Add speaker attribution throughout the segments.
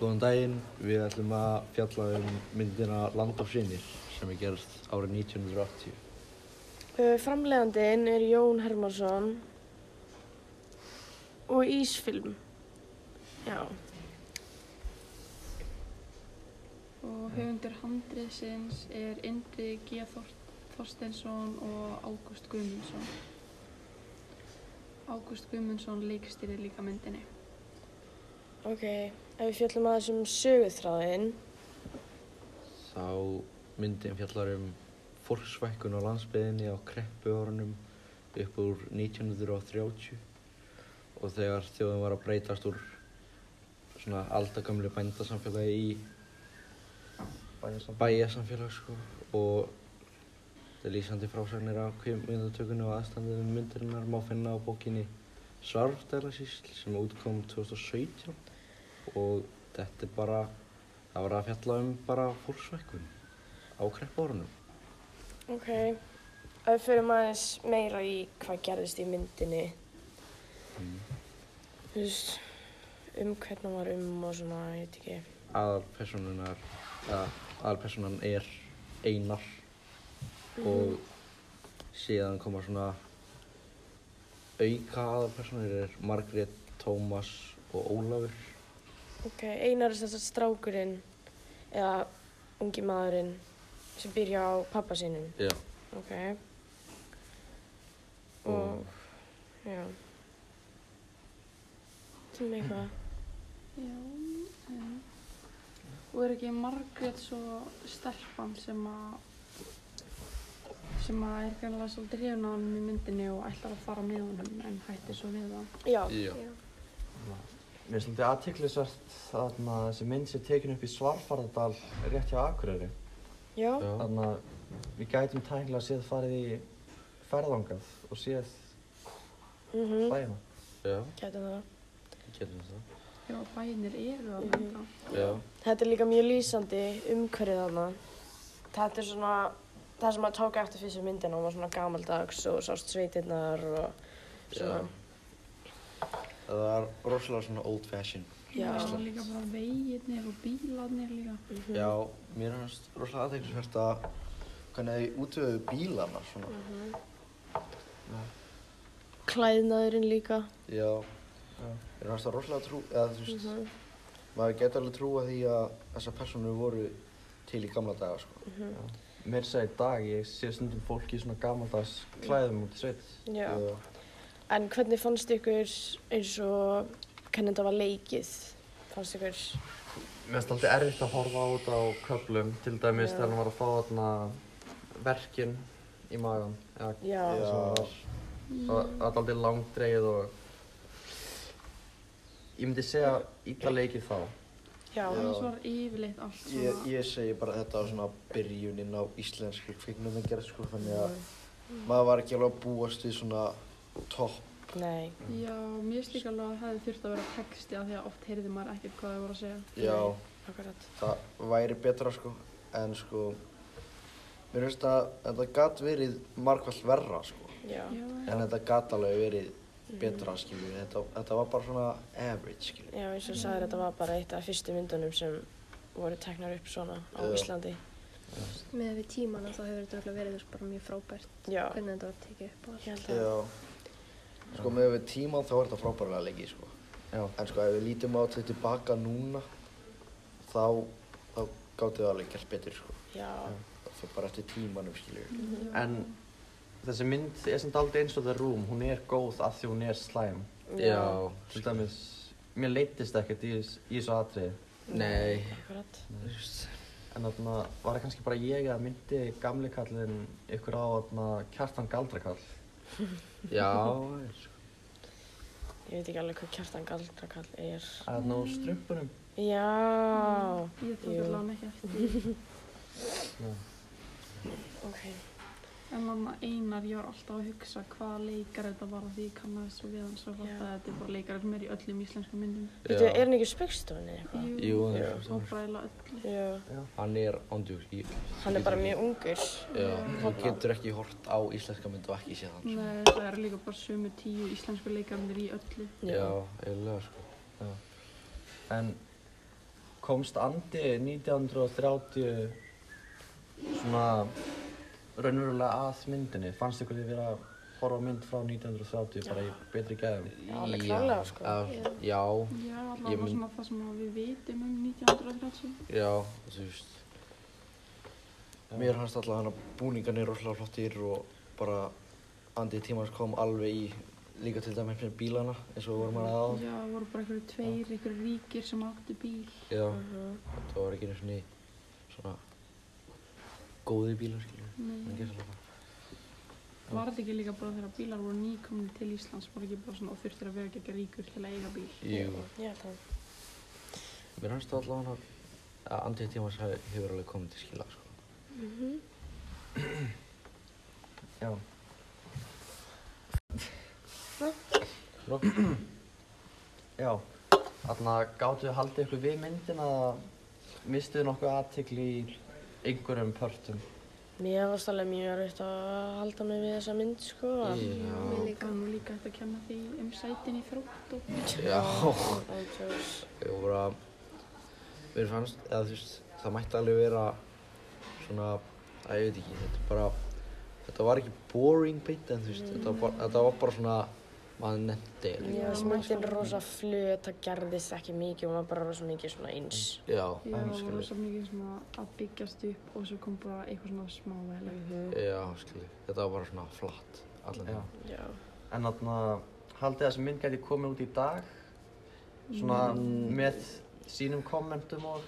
Speaker 1: Góðan daginn, við ætlum að fjalla um myndina Land of Sinir sem er gerst árið 1980.
Speaker 2: Uh, Framleiðandinn er Jón Hermansson og Ísfilm. Já,
Speaker 3: Og höfundur handriðsins er Indri G. Þor- Þorsteinsson og Ágúst Guðmundsson. Ágúst Guðmundsson leikstýrði líka myndinni.
Speaker 2: ok. Ef við fjöllum aðeins um söguþráðinn,
Speaker 1: Þá myndin fjallar um fólksvækkun á landsbyðinni á kreppuárunum upp úr 1930 og þegar þjóðin var að breytast úr svona aldagamlu bændasamfélagi í bæjasamfélag sko og þetta er lýsandi frásagnir af kveimyndatökunni og aðstandinu myndirinnar má finna á bókinni Svarfdælasísl sem útkom 2017 og þetta er bara Það var að fjalla um bara fólksvækkun á kreppárunum.
Speaker 2: ok. Ef við förum aðeins meira í hvað gerðist í myndinni,
Speaker 1: Mm.
Speaker 2: þú veist, um hvernig hún var um og svona, ég veit ekki.
Speaker 1: Aðalpersonunar, eða aðalpersonan er einar
Speaker 2: Mhm. Mm.
Speaker 1: og síðan koma svona auka aðalpersonur er Margrét, Tómas og Ólafur.
Speaker 2: Ok, einar er þess að strákurinn eða ungi maðurinn sem byrja á pappa sínum,
Speaker 1: Já.
Speaker 2: ok.
Speaker 1: Og
Speaker 2: Já. Sem eitthvað.
Speaker 3: Já, um, og er ekki Margrét svo stelpan sem að sem að er kannlega svolítið hrifin á honum í myndinni og ætlar að fara með honum en hættir svo við það.
Speaker 2: Já.
Speaker 1: Já.
Speaker 4: Mér er svolítið aðtiklisvert þarna að þessi mynd sem tekin upp í Svarfarðardal rétt hjá Akureyri.
Speaker 2: Já.
Speaker 1: Já.
Speaker 4: Þarna við gætum tæknilega séð farið í ferðangað og séð
Speaker 2: Mhm.
Speaker 4: bæina.
Speaker 1: Já,
Speaker 2: Gætum það.
Speaker 1: getum það.
Speaker 3: Já, bæinir eru að mynda.
Speaker 1: Já.
Speaker 2: Þetta er líka mjög lýsandi umhverfið þarna. Þetta er svona, það sem maður tók eftir fyrstu myndina, hún var svona gamaldags og sást sveitirnar og svona.
Speaker 1: Það var rosalega svona old fashion.
Speaker 2: Já.
Speaker 3: Og líka bara veginir og bílarnir líka.
Speaker 2: Mhm.
Speaker 1: Já, mér finnst rosalega aðeinsverðt að hvernig þau útvöðu bílana svona.
Speaker 2: Mhm. Klæðnaðurinn líka.
Speaker 1: Já,
Speaker 4: Já.
Speaker 1: mér fannst það rosalega trú, eða þú veist,
Speaker 2: Mhm.
Speaker 1: maður getur alveg trúa því að þessar personur voru til í gamla daga, sko.
Speaker 4: Mér segi í dag, ég sé stundum fólk í svona gamaldags klæðum út í sveit.
Speaker 2: Já.
Speaker 1: Já.
Speaker 2: En hvernig fannst ykkur eins og hvernig þetta var leikið? Fannst ykkur?
Speaker 4: Mér finnst alltaf erfitt að horfa á þetta á köflum, til dæmis
Speaker 2: Já.
Speaker 4: þegar hann var að fá þarna verkin í magan. Eða,
Speaker 2: Já.
Speaker 1: Já.
Speaker 4: Það var það var alltaf langdreið og ég myndi segja illa leikið þá.
Speaker 2: Já.
Speaker 3: Annars var yfirleitt allt svona.
Speaker 1: Ég, ég segi bara að þetta á svona byrjunin á íslenskri kviknum en gerð, sko, þannig að
Speaker 2: Mhm.
Speaker 1: maður var ekki alveg að búast við svona topp.
Speaker 2: Nei.
Speaker 3: Já, mér finnst líka alveg að það hefði þurft að vera texti af því að oft heyrði maður ekkert hvað þau voru að segja.
Speaker 1: Já,
Speaker 2: Akkurat.
Speaker 1: það væri betra, sko, en sko, mér finnst að þetta gat verið margvall verra, sko.
Speaker 2: Já. Mhm.
Speaker 3: Já,
Speaker 1: En þetta gat alveg verið betra, skilju, þetta, þetta var bara svona average, skilju.
Speaker 2: Já, eins og sagður þetta var bara eitt af fyrstu myndunum sem voru teknar upp svona á
Speaker 1: Já.
Speaker 2: Íslandi.
Speaker 5: Með við tímana þá hefur þetta örugglega verið þú veist, bara mjög frábært
Speaker 2: Já.
Speaker 5: hvernig þetta var tekið upp og
Speaker 2: Ég held að.
Speaker 1: Já. Sko með við tímann þá er þetta frábærlega lengi sko.
Speaker 4: Já.
Speaker 1: En sko ef við lítum á þetta tilbaka núna þá, þá gáttu við alveg gert betur sko.
Speaker 2: Já.
Speaker 1: Það er bara eftir tímanum skilju.
Speaker 4: En þessi mynd er samt aldrei eins og The Room, hún er góð af því hún er slæm. Til dæmis, mér leittist ekkert í, þess- í þessu atriði.
Speaker 1: Nei.
Speaker 2: Akkurat.
Speaker 4: En þarna var það kannski bara ég að myndi gamli kallinn ykkur á þarna kjartan galdrakall.
Speaker 1: Já.
Speaker 2: Ég veit ekki alveg hvað kjartan galdrakall er.
Speaker 4: Að Þarna úr strumpunum.
Speaker 2: Já.
Speaker 3: ég tók
Speaker 2: Jú.
Speaker 3: alveg hann ekki eftir. því.
Speaker 2: Ok.
Speaker 3: En þannig að einar, ég var alltaf að hugsa hvaða leikar þetta var af því ég kannast svo við hann svo hvort
Speaker 2: Já.
Speaker 3: að þetta er bara leikar sem er í öllum íslenskum myndum.
Speaker 2: Veitu, er hann ekki í spöggstofunni eða eitthvað?
Speaker 1: Jú, hann er
Speaker 3: er
Speaker 1: í
Speaker 3: svo fræla öllu.
Speaker 2: Já.
Speaker 1: Hann er ándjúk í...
Speaker 2: Hann er bara mjög ungur.
Speaker 1: Já. Þú getur ekki hort á íslenska mynd og ekki séð hann. sko.
Speaker 3: Nei, það eru líka bara sömu tíu íslensku leikarnir í öllu.
Speaker 1: Já, eiginlega sko.
Speaker 4: En komst andi 1930 svona raunverulega að myndinni? Fannst ykkur þið vera að horfa á mynd frá 1930 bara í betri gæðum?
Speaker 2: Já, alveg klárlega, sko.
Speaker 1: Já, já,
Speaker 3: Já,
Speaker 1: Ég
Speaker 3: allavega
Speaker 1: mun-
Speaker 3: svona það sem að við vitum um 1930.
Speaker 1: já, þú veist. Mér fannst alltaf hana búningarnir rosalega flottir og bara andið tímans kom alveg í líka til dæmis með bílana eins og við vorum að ræða á.
Speaker 3: Já, það voru bara einhverju tveir, einhverju ríkir sem áttu bíl.
Speaker 1: Já, Mhm. þetta var ekki einu sinni svona góði bílar, skiljum.
Speaker 3: Nei.
Speaker 1: Ekki svolítið.
Speaker 3: Var þetta ekki líka bara þegar bílar voru nýkomni til Íslands, voru ekki bara svona og þurftir að vera ekki ríkur til að eiga bíl?
Speaker 1: Jú,
Speaker 2: Ég held það.
Speaker 1: mér fannst alltaf hana að andið tímans hafi- hefur alveg komið til skila, sko.
Speaker 4: Já.
Speaker 1: Nó,
Speaker 4: Já. Þarna gáttu þið haldið ykkur við myndina að mistuðu nokkuð aðtikli í einhverjum pörtum.
Speaker 2: Mér varst alveg mjög erfitt að halda mig við þessa mynd, sko.
Speaker 1: Mm,
Speaker 5: Mér
Speaker 1: já,
Speaker 3: Það
Speaker 5: líka.
Speaker 3: var nú líka hægt að kenna því um sætin í þrótt og...
Speaker 1: já.
Speaker 2: Ándjós.
Speaker 1: Ég voru að, mér fannst, eða þú veist, það mætti alveg vera svona, að ég veit ekki, þetta er bara, þetta var ekki boring beint en þú veist, þetta, var, þetta var bara svona, maður nefndi eða
Speaker 2: Mér varst
Speaker 3: Já,
Speaker 2: myndin
Speaker 3: sko.
Speaker 2: rosa flut, það gerðist ekki mikið og maður bara rosa mikið svona eins.
Speaker 1: Já,
Speaker 3: Já, það var
Speaker 1: skilji,
Speaker 3: rosa mikið svona að byggjast upp og svo kom bara eitthvað svona smávægilega.
Speaker 1: já, skilji, þetta var bara svona flatt, allan
Speaker 4: Já.
Speaker 1: tíma.
Speaker 2: Já.
Speaker 4: En þarna haldið þið að þessi mynd gæti komið út í dag? Svona
Speaker 3: Mm.
Speaker 4: með sínum kommentum og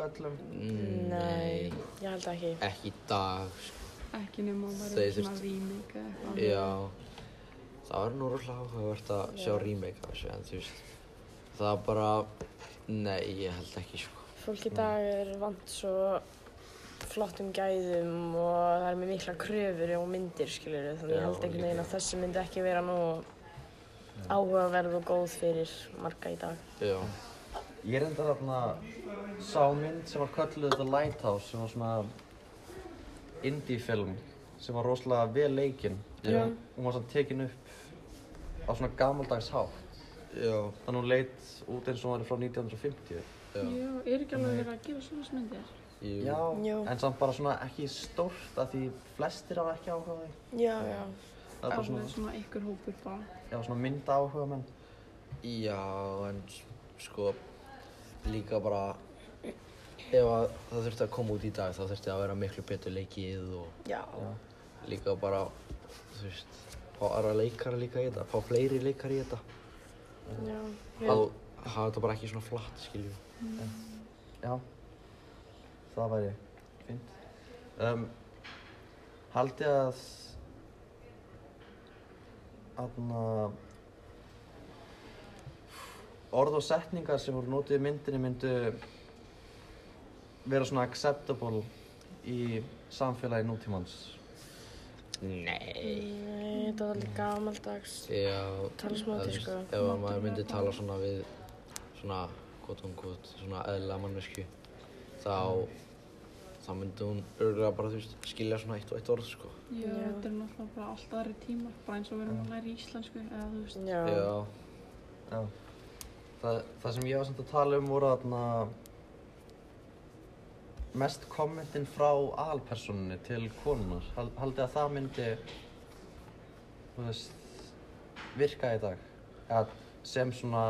Speaker 4: göllum?
Speaker 2: Nei, ég held það ekki.
Speaker 1: Ekki í dag, sko,
Speaker 3: Ekki nema að
Speaker 1: Þeir
Speaker 3: vera svona
Speaker 1: þurftu-
Speaker 3: rýming eða eitthvað.
Speaker 1: já. Það var nú rosalega áhugavert að sjá remake af þessu, en þú veist, það var bara, nei, ég held ekki, sko.
Speaker 2: Fólk í dag er vant svo flottum gæðum og það er með mikla kröfur og myndir, skiljur Þannig
Speaker 1: Já,
Speaker 2: ég held einhvern veginn
Speaker 1: líka.
Speaker 2: að þessi myndi ekki vera nú áhugaverð og góð fyrir marga í dag.
Speaker 1: Já,
Speaker 4: Ég reyndar þarna sá mynd sem var kölluð The Lighthouse sem var svona indie film sem var rosalega vel leikinn.
Speaker 1: Já.
Speaker 4: Hún var svona tekin upp á svona gamaldags hátt.
Speaker 1: já,
Speaker 4: Þannig hún leit út eins og hún var frá 1950.
Speaker 1: já.
Speaker 3: Já, er ekki alveg verið að gera svona smyndir?
Speaker 1: Jú.
Speaker 4: Já,
Speaker 2: Jú.
Speaker 4: en samt bara svona ekki stórt af því flestir hafa ekki áhuga á því.
Speaker 2: Já, já.
Speaker 4: Það er bara
Speaker 3: Alveg
Speaker 4: svona,
Speaker 3: svona einhver hópur bara.
Speaker 4: já, svona mynda áhuga menn.
Speaker 1: Já, en s- sko líka bara ef að það þurfti að koma út í dag þá þurfti að vera miklu betur leikið og
Speaker 2: Já.
Speaker 1: líka bara þú veist, fá aðra leikara líka í þetta fá fleiri leikara í þetta
Speaker 2: Já.
Speaker 1: og hafa þetta bara ekki svona flatt skilju
Speaker 4: Já, það væri fint. Um, haldið að aðna, orð og setningar sem voru notuð í myndinni myndu vera svona acceptable í samfélagi nútímans.
Speaker 1: Nei
Speaker 2: Nei, þetta var alveg gamaldags.
Speaker 1: Já, eða þú
Speaker 2: Talsmáti,
Speaker 1: veist,
Speaker 2: sko.
Speaker 1: ef að maður myndi tala svona við svona gott og gott, svona eðla mannesku þá þá myndi hún örgulega bara þú veist, skilja svona eitt og eitt orð sko
Speaker 3: Já, þetta er náttúrulega bara alltaf aðri tímar, bara eins og við erum að læra íslensku eða þú veist.
Speaker 2: Já.
Speaker 1: Já,
Speaker 4: Já. Það, það sem ég var samt að tala um voru aðna, mest kommentin frá aðalpersonunni til konunar. Hal, haldið að það myndi þú veist, virka í dag? Að sem svona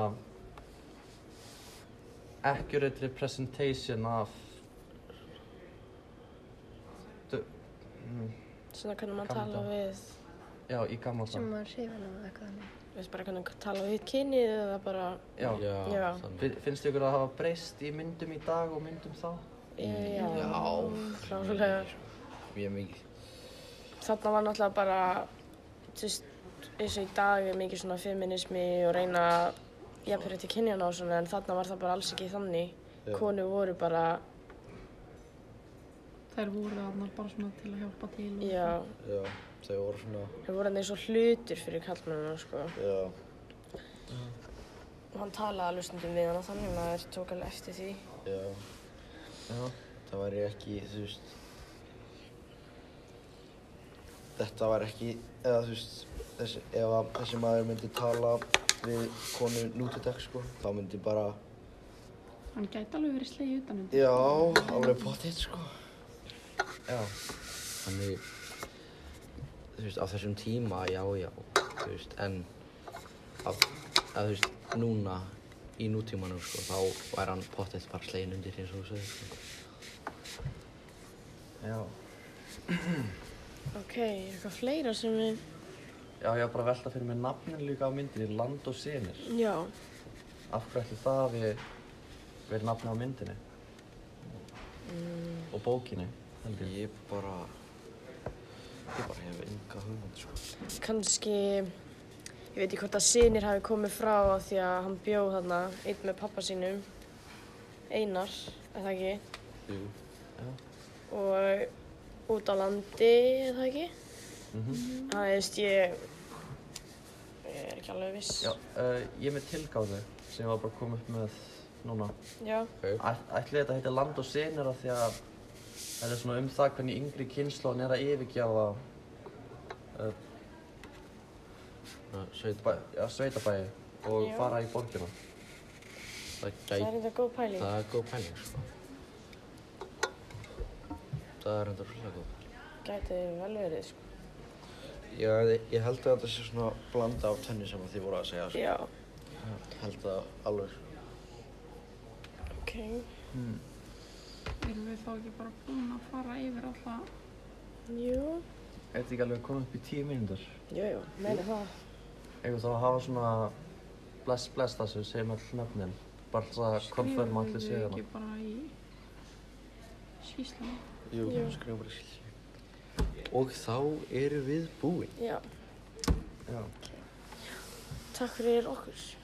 Speaker 4: accurate representation af Du- mm,
Speaker 2: Svona hvernig maður
Speaker 4: Gamla
Speaker 2: tala
Speaker 4: daga.
Speaker 2: við,
Speaker 4: Já, í gamla
Speaker 5: Sem
Speaker 4: dag.
Speaker 5: var hrifin af eitthvað þannig.
Speaker 2: veist bara hvernig tala við kynið eða bara,
Speaker 4: Já.
Speaker 1: já,
Speaker 2: Já.
Speaker 1: þannig
Speaker 4: Fin- Finnst ykkur að hafa breyst í myndum í dag og myndum þá?
Speaker 2: já, já,
Speaker 1: Já.
Speaker 2: klárlega.
Speaker 1: mjög mikið
Speaker 2: Þarna var náttúrulega bara, þú veist, eins og í dag er mikið svona feminismi og reyna jafnverið til kynjana og svona, en þarna var það bara alls ekki þannig.
Speaker 1: Já.
Speaker 2: Konur voru bara,
Speaker 3: Þær voru þarna bara svona til að hjálpa til og...
Speaker 2: já,
Speaker 1: Já, þau voru svona
Speaker 2: þau voru hann eins og hlutur fyrir kallmennina, sko.
Speaker 1: Já,
Speaker 2: Og hann talaði alveg stundum við hann þannig, maður tók alveg eftir því.
Speaker 1: já,
Speaker 4: Já.
Speaker 1: það væri ekki, þú veist Þetta var ekki, eða þú veist þessi, ef að þessi maður myndi tala við konu nú til dag sko, þá myndi bara
Speaker 3: Hann gæti alveg verið slegið um utanum.
Speaker 1: Já, alveg potið sko.
Speaker 4: Já.
Speaker 1: Þannig, þú veist, á þessum tíma, já, já, þú veist, en að, að þú veist, núna í nútímanum sko, þá væri hann potið bara slegin undir eins og þú segir sko.
Speaker 4: Já.
Speaker 2: Ok, eitthvað fleira sem við...
Speaker 4: Já, ég var bara að velta fyrir mér nafnin líka á myndinni, Land og Sinir.
Speaker 2: Já,
Speaker 4: Af hverju ætti það að við verið nafni á myndinni? Og bókinni, held ég.
Speaker 1: Ég bara, ég bara hef enga hugmynd sko.
Speaker 2: kannski... Ég veit ekki hvort að sinir hafi komið frá af því að hann bjóð þarna einn með pappa sínum, Einar, er það ekki?
Speaker 1: Jú.
Speaker 2: Og út á landi, er það ekki?
Speaker 4: Mhm.
Speaker 2: Það veist ég... Ég er ekki alveg viss.
Speaker 4: Já, uh, ég er með tilgáðu sem ég var bara að koma upp með núna.
Speaker 2: Já,
Speaker 1: Ok.
Speaker 4: Æ- Ætli þetta heitir land og senir af því að þetta er svona um það hvernig yngri kynnslóðin er að yfirgjafa uh,
Speaker 1: Það sveit,
Speaker 4: bæ, ja, sveitabæi og
Speaker 2: Já.
Speaker 4: fara í borgina.
Speaker 1: það
Speaker 2: það er
Speaker 1: gæti,
Speaker 2: eitthvað góð pæling.
Speaker 1: það er góð pæling sko. Það er hendur svolítið góð.
Speaker 2: Gæti vel verið, sko.
Speaker 1: Ég, ég held að þetta sé svona blanda af tönni sem þið voru að segja sko.
Speaker 2: Já,
Speaker 1: Held að alveg.
Speaker 2: ok.
Speaker 4: Hmm.
Speaker 3: Erum við þá ekki bara búin að fara yfir alla?
Speaker 2: Jú,
Speaker 4: Er þetta ekki alveg að koma upp í tíu mínútur?
Speaker 2: jú, jú, meina það.
Speaker 4: Eigum þá að hafa svona bless bless það sem við segjum öll nöfnin. Bara alltaf að konfirma allir
Speaker 3: Skrifuðu
Speaker 4: síðan.
Speaker 3: ekki bara í skýslunum?
Speaker 1: Jú,
Speaker 2: Jú.
Speaker 1: skrifa bara skilji. Og þá eru við búin.
Speaker 2: Já,
Speaker 4: Já.
Speaker 2: takk fyrir okkur.